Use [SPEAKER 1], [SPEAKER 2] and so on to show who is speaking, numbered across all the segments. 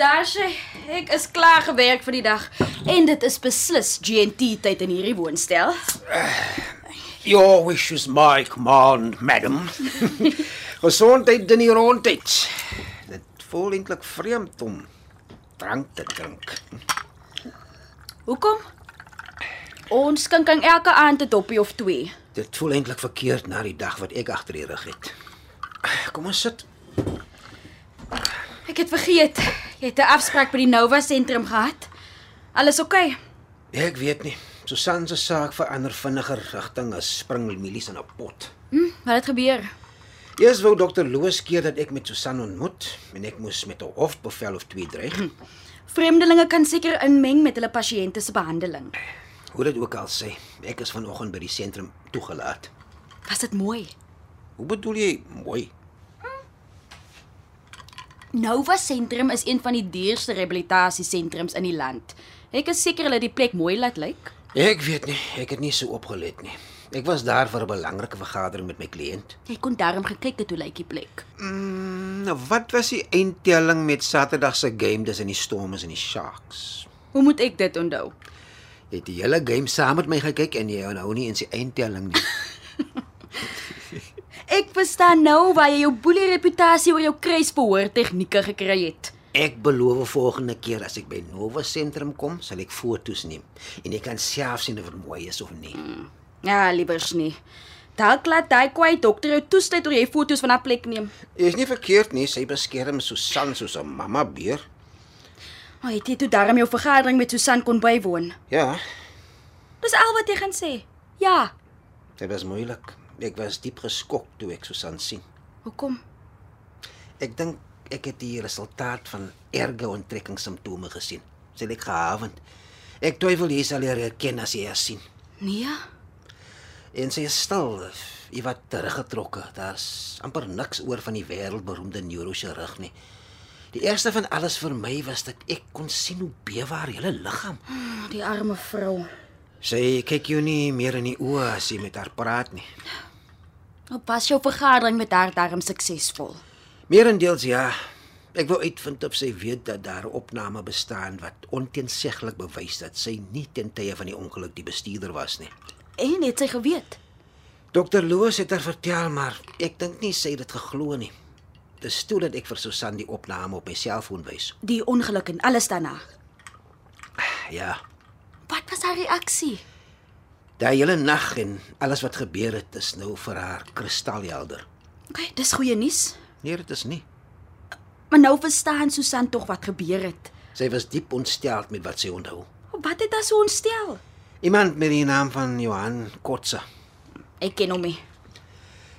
[SPEAKER 1] Daar sê ek is klaar gewerk vir die dag en dit is beslis GNT tyd in hierdie woonstel.
[SPEAKER 2] Your wish is my command, madam. Gesondheid in die rondheid. Dit voel eintlik vreemd om drank te drink.
[SPEAKER 1] Hoekom? Ons skink aan elke aand 'n doppie of twee.
[SPEAKER 2] Dit voel eintlik verkeerd na die dag wat ek agter die rug het. Kom ons sit.
[SPEAKER 1] Ek het vergeet, jy het 'n afspraak by die Nova sentrum gehad. Alles oukei. Okay.
[SPEAKER 2] Nee, Ek weet nie. Susan se saak verander vinniger rigting as springmielies in 'n pot.
[SPEAKER 1] Hm, wat het gebeur?
[SPEAKER 2] Eers wou dokter Loos keer dat ek met Susan ontmoet en ek moes met 'n hofbevel of twee dreig.
[SPEAKER 1] Vreemdelinge kan seker inmeng met hulle pasiënte se behandeling.
[SPEAKER 2] Hoe dit ook al sê, ek is vanoggend by die sentrum toegelaat.
[SPEAKER 1] Was dit mooi?
[SPEAKER 2] Hoe bedoel jy mooi?
[SPEAKER 1] Nova sentrum is een van die duurste rehabilitasiesentrums in die land. Ek is seker hulle het die plek mooi laat lyk.
[SPEAKER 2] Ek weet nie, ek het nie so opgelet nie. Ek was daar vir 'n belangrike vergadering met my kliënt.
[SPEAKER 1] Jy kon darm gekyk het hoe lyk die plek.
[SPEAKER 2] Mm, nou wat was die eindtelling met Saterdag se game tussen die Stormers en die Sharks?
[SPEAKER 1] Hoe moet ek dit onthou?
[SPEAKER 2] Jy het die hele game saam met my gekyk en jy onthou nie eens die eindtelling nie.
[SPEAKER 1] Ek verstaan nou waar jy jou boelie reputasie oor jou kruisbehoor tegnieke gekry het.
[SPEAKER 2] Ek beloof volgende keer as ek by Nova sentrum kom, sal ek foto's neem en jy kan self sien of dit mooi is of nie.
[SPEAKER 1] Ja, liewers nie. Dalk laat daai kwaai dokter jou toesluit oor jy foto's van haar plek neem.
[SPEAKER 2] Is nie verkeerd nie, sy beskerm Susan soos 'n mamma beer.
[SPEAKER 1] Maar het jy toe darm jou vergadering met Susan kon bywoon?
[SPEAKER 2] Ja,
[SPEAKER 1] Dis al wat jy gaan sê. Ja.
[SPEAKER 2] dit was moeilik. Ek was diep geskok toe ek Susan sien.
[SPEAKER 1] Hoekom?
[SPEAKER 2] Ek dink ek het die resultaat van erge onttrekkingssimptome gesien. Sy lyk gehavend. Ek twyfel jy sal haar herken as jy haar sien.
[SPEAKER 1] Nee.
[SPEAKER 2] En sy is stil, iewat teruggetrokke. Daar's amper niks oor van die wêreldberoemde neurochirurg nie. Die eerste van alles vir my was dat ek kon sien hoe bewe haar hele liggaam.
[SPEAKER 1] Die arme vrou.
[SPEAKER 2] Sy kyk jou nie meer in die oë as jy met haar praat nie.
[SPEAKER 1] Hoe was Nou jou vergadering met haar darm suksesvol?
[SPEAKER 2] Meerendeels ja. Ek wou uitvind of sy weet dat daar 'n opname bestaan wat onteenseglik bewys dat sy nie ten tye van die ongeluk die bestuurder was nie.
[SPEAKER 1] En het sy geweet?
[SPEAKER 2] Dokter Loos het haar vertel, maar ek dink nie sy het dit geglo nie. Dis toe dat ek vir Susan die opname op my selfoon wys.
[SPEAKER 1] Die ongeluk en alles daarna.
[SPEAKER 2] Ja,
[SPEAKER 1] Wat was haar reaksie?
[SPEAKER 2] daai hele nag en alles wat gebeur het is nou vir haar kristalhelder.
[SPEAKER 1] OK, dis goeie nuus.
[SPEAKER 2] Nee, dit is nie.
[SPEAKER 1] Maar nou verstaan Susan tog wat gebeur het.
[SPEAKER 2] Sy was diep ontstel met wat sy onthou.
[SPEAKER 1] Wat het haar so ontstel?
[SPEAKER 2] Iemand met die naam van Johan Kotse.
[SPEAKER 1] Ek ken hom nie.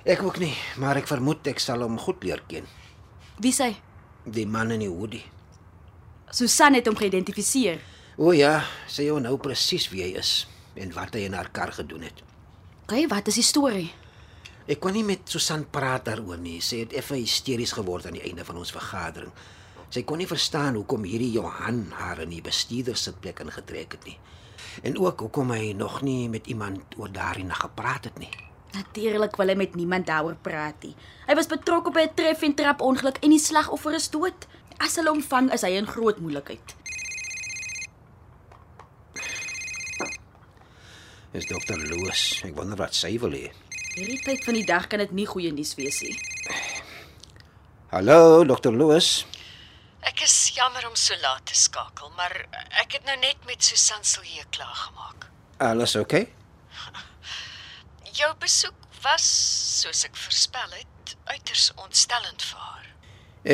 [SPEAKER 2] Ek ook nie, maar ek vermoed ek sal hom goed leer ken.
[SPEAKER 1] Wie sy?
[SPEAKER 2] Die man in die hoodie.
[SPEAKER 1] Susan het hom geïdentifiseer.
[SPEAKER 2] O ja, sy onthou presies wie hy is en wat hy in haar kar gedoen het.
[SPEAKER 1] OK, wat is die storie?
[SPEAKER 2] Ek kon nie met Susan praat daaroor nie. Sy het effe hysteries geword aan die einde van ons vergadering. Sy kon nie verstaan hoekom hierdie Johan haar in die bestuurder se plek ingetrek het nie. En ook hoekom hy nog nie met iemand oor daardie nag gepraat het nie.
[SPEAKER 1] Natuurlik wil hy met niemand daaroor praat nie. Hy was betrokke by 'n tref en trap ongeluk en die slagoffer is dood. As hulle hom vang, is hy in groot moeilikheid.
[SPEAKER 2] Dis dokter Loos. Ek wonder wat sy wil hê.
[SPEAKER 1] Hierdie tyd van die dag kan dit nie goeie nuus wees nie.
[SPEAKER 2] Hallo, dokter Loos.
[SPEAKER 3] Ek is jammer om so laat te skakel, maar ek het nou net met Susan Silje klaar gemaak.
[SPEAKER 2] Alles oukei? Okay?
[SPEAKER 3] Jou besoek was, soos ek voorspel het, uiters ontstellend vir haar.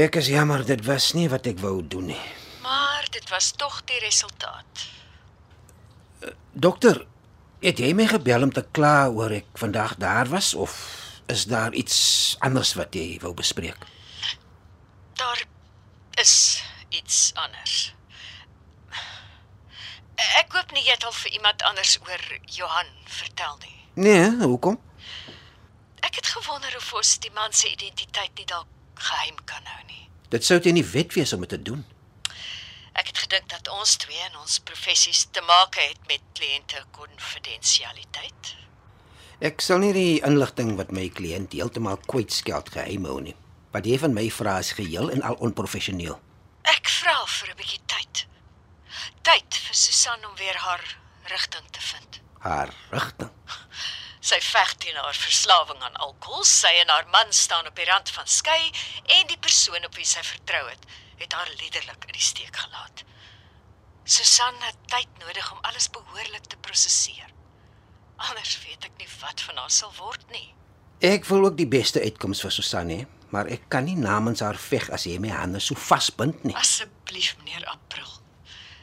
[SPEAKER 2] Ek is jammer dit was nie wat ek wou doen nie.
[SPEAKER 3] Maar dit was tog die resultaat.
[SPEAKER 2] Dokter, het jy my gebel om te kla oor ek vandag daar was of is daar iets anders wat jy wou bespreek?
[SPEAKER 3] Daar is iets anders. hoop nie jy het al vir iemand anders oor Johan vertel nie.
[SPEAKER 2] Nee, hoekom?
[SPEAKER 3] Ek het gewonder of ons die man se identiteit nie dalk geheim kan hou nie.
[SPEAKER 2] Dit sou teen die wet wees om dit te doen.
[SPEAKER 3] Ek het gedink dat ons twee in ons professies te maak het met kliënte konfidensialiteit.
[SPEAKER 2] Ek sal nie die inligting wat my kliënt heeltemal kwytskeld geheim hou nie. Wat jy van my vra is geheel en al onprofessioneel.
[SPEAKER 3] Ek vra vir 'n bietjie tyd. Tyd vir Susan om weer haar rigting te vind.
[SPEAKER 2] Haar rigting.
[SPEAKER 3] Sy veg teen haar verslawing aan alkohol. Sy en haar man staan op die rand van skei en die persoon op wie sy vertrou het, het haar liderlik in die steek gelaat. Susan het tyd nodig om alles behoorlik te prosesseer. Anders weet ek nie wat van haar sal word nie.
[SPEAKER 2] Ek wil ook die beste uitkoms vir Susan hê, maar ek kan nie namens haar veg as jy my hande so vasbind nie.
[SPEAKER 3] Asseblief, meneer April.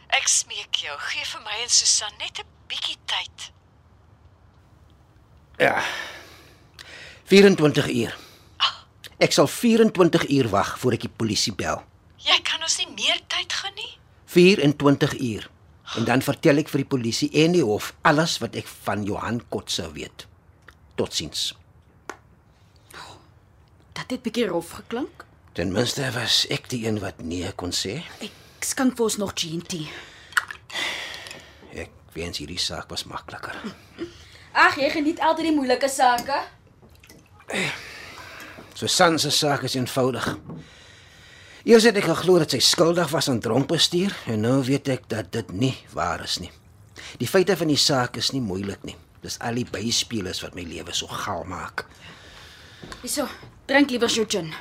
[SPEAKER 3] Ek smeek jou, gee vir my en Susan net 'n bietjie tyd.
[SPEAKER 2] 24 uur. Ek sal 24 uur wag voor ek die polisie bel.
[SPEAKER 3] Jy kan ons nie meer tyd gun nie.
[SPEAKER 2] 24 uur. En dan vertel ek vir die polisie en die hof alles wat ek van Johan Kotse weet. Totsiens.
[SPEAKER 1] Dit het bietjie rof geklink.
[SPEAKER 2] Ten minste was ek die een wat nee kon sê.
[SPEAKER 1] Ek skink vir ons nog GNT.
[SPEAKER 2] Ek wens hierdie saak was makliker.
[SPEAKER 1] Ag, jy geniet altyd die moeilike sake.
[SPEAKER 2] Susan se saak is eenvoudig. Eers het ek geglo dat sy skuldig was aan dronkbestuur en nou weet ek dat dit nie waar is nie. Die feite van die saak is nie moeilik nie. Dis al die byspelers wat my lewe so gaal maak.
[SPEAKER 1] Hyso, drink liewer jou gin.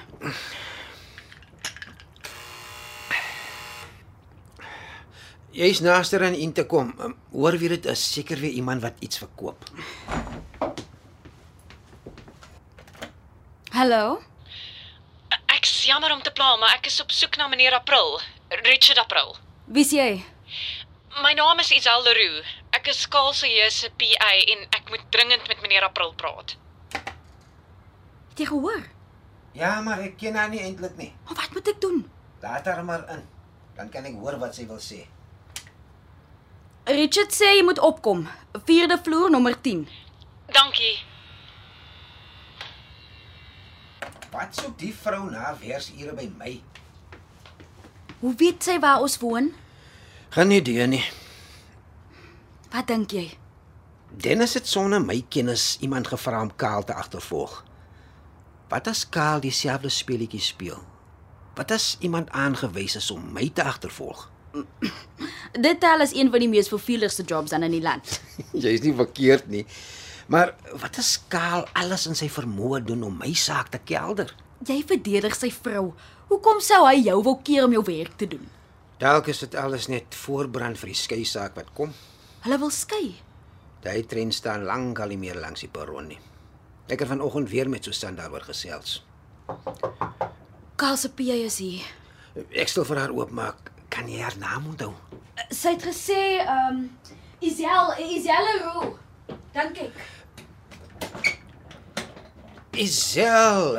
[SPEAKER 2] Jy's naaster aan in te kom. Um, Hoor wie dit is, seker weer iemand wat iets verkoop.
[SPEAKER 1] Hallo.
[SPEAKER 4] Ek's jammer om te pla, maar ek is op soek na meneer April, Richard April.
[SPEAKER 1] Wie's jy?
[SPEAKER 4] My naam is Isel Leroux. Ek is Kaalseheer se PA en ek moet dringend met meneer April praat.
[SPEAKER 1] Het jy gehoor?
[SPEAKER 2] Ja, maar ek ken haar nie eintlik nie.
[SPEAKER 1] Maar wat moet ek doen?
[SPEAKER 2] Laat haar maar in. Dan kan ek hoor wat sy wil sê.
[SPEAKER 1] Richard sê jy moet opkom. 4de vloer nommer 10.
[SPEAKER 4] Dankie.
[SPEAKER 2] Wat soek die vrou na weersure by my?
[SPEAKER 1] Hoe weet sy waar ons woon?
[SPEAKER 2] Geen idee nie.
[SPEAKER 1] Wat dink jy?
[SPEAKER 2] Dennis het sonder my kennis iemand gevra om Kaal te agtervolg. Wat as Kaal dieselfde speletjie speel? Wat as iemand aangewys is om my te agtervolg?
[SPEAKER 1] Dit tel as een van die mees verveligste jobs dan in die land.
[SPEAKER 2] Jy's nie verkeerd nie. Maar wat as Kaal alles in sy vermoë doen om my saak te kelder?
[SPEAKER 1] Jy verdedig sy vrou. Hoekom sou hy jou wil keer om jou werk te doen?
[SPEAKER 2] Dalk is dit alles net voorbrand vir die skei saak wat kom.
[SPEAKER 1] Hulle wil skei.
[SPEAKER 2] Daai trein staan lank al nie meer langs die perron nie. Ek het vanoggend weer met Susan daaroor gesels.
[SPEAKER 1] Karl se PA is hier.
[SPEAKER 2] Ek stel vir haar oop, maar kan jy haar naam onthou?
[SPEAKER 1] Sy het gesê, ehm, um, Isel, Isel Roo. Dan kyk.
[SPEAKER 2] Isel.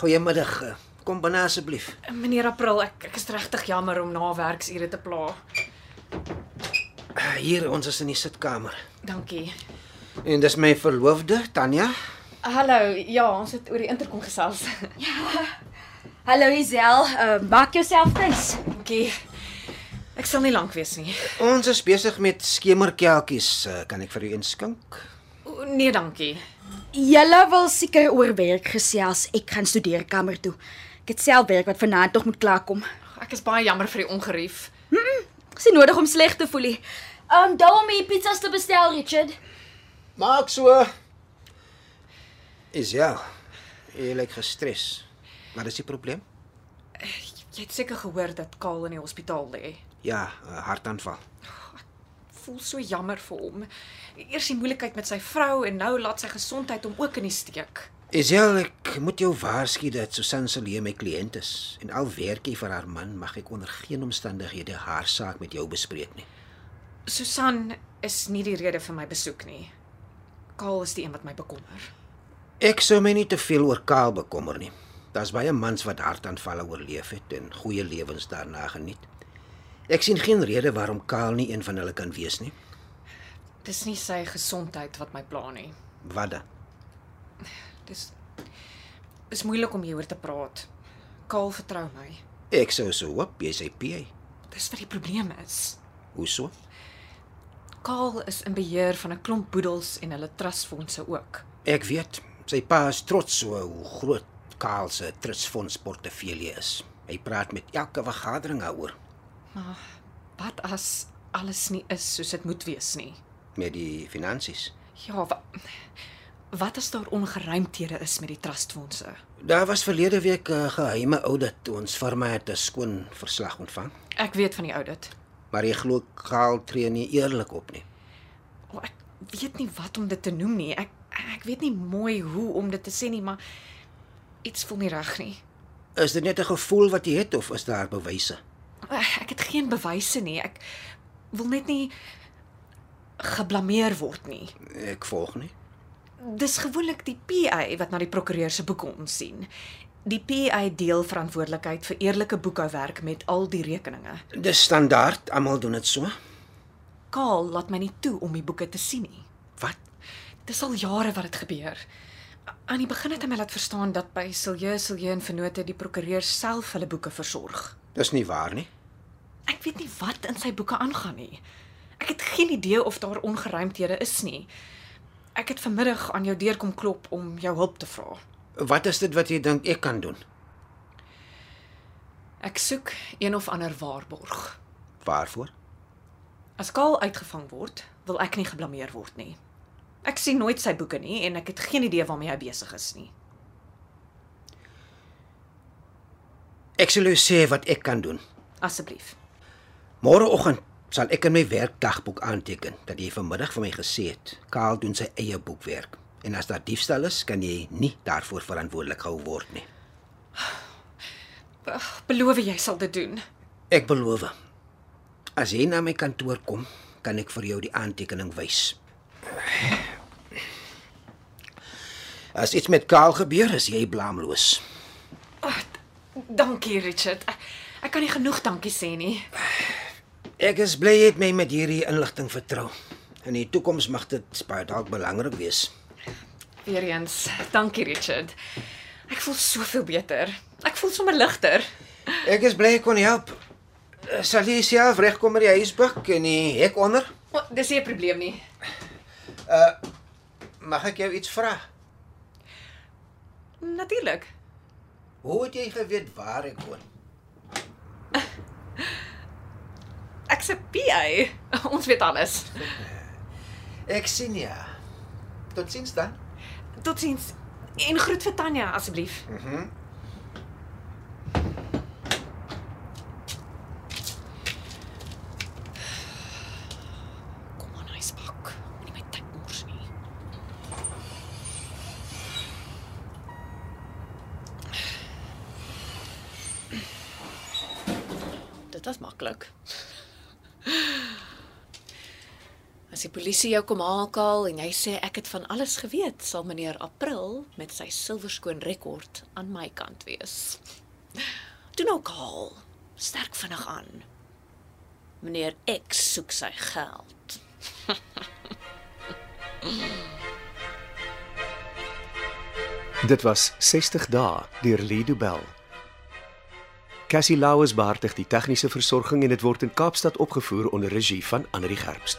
[SPEAKER 2] Goeiemiddag. Kom binne asseblief.
[SPEAKER 4] Meneer April, ek ek is regtig jammer om na werksure te pla.
[SPEAKER 2] Hier, ons is in die sitkamer.
[SPEAKER 4] Dankie.
[SPEAKER 2] En dis my verloofde, Tanya.
[SPEAKER 4] Hallo, ja, ons het oor die interkom gesels.
[SPEAKER 1] Hallo Isel, uh, maak jouself tuis.
[SPEAKER 4] Dankie. Ek sal nie lank wees nie.
[SPEAKER 2] Ons is besig met skemerkelkies. Eh, Kan ek vir u een skink?
[SPEAKER 4] O, nee, dankie.
[SPEAKER 1] Julle wil seker oor werk gesels. Ek gaan studeerkamer toe. Ek het self werk wat vanaand nog moet klaarkom.
[SPEAKER 4] Ek is baie jammer vir die ongerief.
[SPEAKER 1] Dis nie nodig om sleg te voel nie. Ehm, um, daarom hier pizzas te bestel, Richard.
[SPEAKER 2] Maak so. Isel. Jy lyk gestres. Wat is die probleem?
[SPEAKER 4] Jy het seker gehoor dat Kaal in die hospitaal lê.
[SPEAKER 2] Ja, 'n hartaanval.
[SPEAKER 4] voel so jammer vir hom. Eers die moeilikheid met sy vrou en nou laat sy gesondheid hom ook in die steek.
[SPEAKER 2] Isel, ek moet jou waarsku dat Susan Selee my kliënt is en al werk jy vir haar man, mag ek onder geen omstandighede haar saak met jou bespreek nie.
[SPEAKER 4] Susan is nie die rede vir my besoek nie. Kaal is die een wat my bekommer.
[SPEAKER 2] Ek sou my nie te veel oor Kaal bekommer nie. Daar's baie mans wat hartaanvalle oorleef het en goeie lewens daarna geniet. Ek sien geen rede waarom Kaal nie een van hulle kan wees nie.
[SPEAKER 4] Dis nie sy gesondheid wat my pla nie.
[SPEAKER 2] Wat dan?
[SPEAKER 4] Dis is moeilik om hieroor te praat. Kaal vertrou my.
[SPEAKER 2] Ek sou so hoop jy sê PA.
[SPEAKER 4] Dis wat die probleem is.
[SPEAKER 2] Hoe so?
[SPEAKER 4] Kaal is in beheer van 'n klomp boedels en hulle trustfondse ook.
[SPEAKER 2] Ek weet, sy pa is trots so hoe groot Karl se trustfonds portefeulje is. Hy praat met elke vergadering daaroor
[SPEAKER 4] Maar wat as alles nie is soos dit moet wees nie?
[SPEAKER 2] met die finansies.
[SPEAKER 4] Ja, wa, wat as daar ongeruimthede is met die trustfondse?
[SPEAKER 2] Daar was verlede week 'n geheime audit toe ons firma het 'n skoon verslag ontvang,
[SPEAKER 4] Ek weet van die audit.
[SPEAKER 2] maar ek glo Karl tree nie eerlik op nie.
[SPEAKER 4] O, ek weet nie wat om dit te noem nie. Ek ek weet nie mooi hoe om dit te sê nie, maar iets voel nie reg nie.
[SPEAKER 2] Is dit net 'n gevoel wat jy het of is daar bewyse?
[SPEAKER 4] Ek het geen bewyse nie. Ek wil net nie geblameer word nie.
[SPEAKER 2] Ek volg nie.
[SPEAKER 4] Dis gewoonlik die PA wat na die prokureur se boeke omsien. Die PA deel verantwoordelikheid vir eerlike boekhouwerk met al die rekeninge.
[SPEAKER 2] Dis standaard, almal doen dit so.
[SPEAKER 4] Kaal laat my nie toe om die boeke te sien nie.
[SPEAKER 2] Wat?
[SPEAKER 4] Dis al jare wat dit gebeur. A- Aan die begin het hy my laat verstaan dat by Silje Silje en Venote die prokureur self hulle boeke versorg.
[SPEAKER 2] Dis nie waar nie.
[SPEAKER 4] Ek weet nie wat in sy boeke aangaan nie. Ek het geen idee of daar ongeruimthede is nie. Ek het vanmiddag aan jou deur kom klop om jou hulp te vra.
[SPEAKER 2] Wat is dit wat jy dink ek kan doen?
[SPEAKER 4] Ek soek een of ander waarborg.
[SPEAKER 2] Waarvoor?
[SPEAKER 4] As Kaal uitgevang word, wil ek nie geblameer word nie. Ek sien nooit sy boeke nie en ek het geen idee waarmee hy besig is nie.
[SPEAKER 2] Ek sal jou sê wat ek kan doen.
[SPEAKER 4] Asseblief.
[SPEAKER 2] Môreoggend sal ek in my werkdagboek aanteken dat jy vanmiddag vir my gesê het, Karl doen sy eie boekwerk. En as daar diefstal is, kan jy nie daarvoor verantwoordelik gehou word nie.
[SPEAKER 4] Ag, beloof jy sal dit doen.
[SPEAKER 2] Ek beloof. As jy na my kantoor kom, kan ek vir jou die aantekening wys. As iets met Karl gebeur, is jy blaamloos.
[SPEAKER 4] Dankie Richard. Ek, ek kan nie genoeg dankie sê nie.
[SPEAKER 2] Ek is bly jy het my met hierdie inligting vertrou. In die toekoms mag dit baie dalk belangrik wees.
[SPEAKER 4] Weereens, dankie Richard. Ek voel soveel beter. Ek voel sommer ligter.
[SPEAKER 2] Ek is bly ek kon help. Sal jy self regkom met die huisbuk en die hek onder?
[SPEAKER 4] O, dis nie 'n probleem nie.
[SPEAKER 2] Eh, Mag ek jou iets vra?
[SPEAKER 4] Natuurlik.
[SPEAKER 2] Hoe het jy geweet waar ek woon?
[SPEAKER 4] Ek's 'n PA. Ons weet alles.
[SPEAKER 2] Ek sien ja. Totsiens dan.
[SPEAKER 4] Totsiens en groet vir Tanya asseblief. Kom aan, huisbak. Moenie my tyd mors nie.
[SPEAKER 5] Dit was maklik. As die polisie jou kom haal kaal en jy sê ek het van alles geweet, sal meneer April met sy silwerskoon rekord aan my kant wees. Doen nou kaal. Sterk vinnig aan. Meneer X soek sy geld.
[SPEAKER 6] Dit was 60 dae deur Lido Bell. Cassie Lauers beheer die tegniese versorging en dit word in Kaapstad opgevoer onder regie van Anri Gerbst.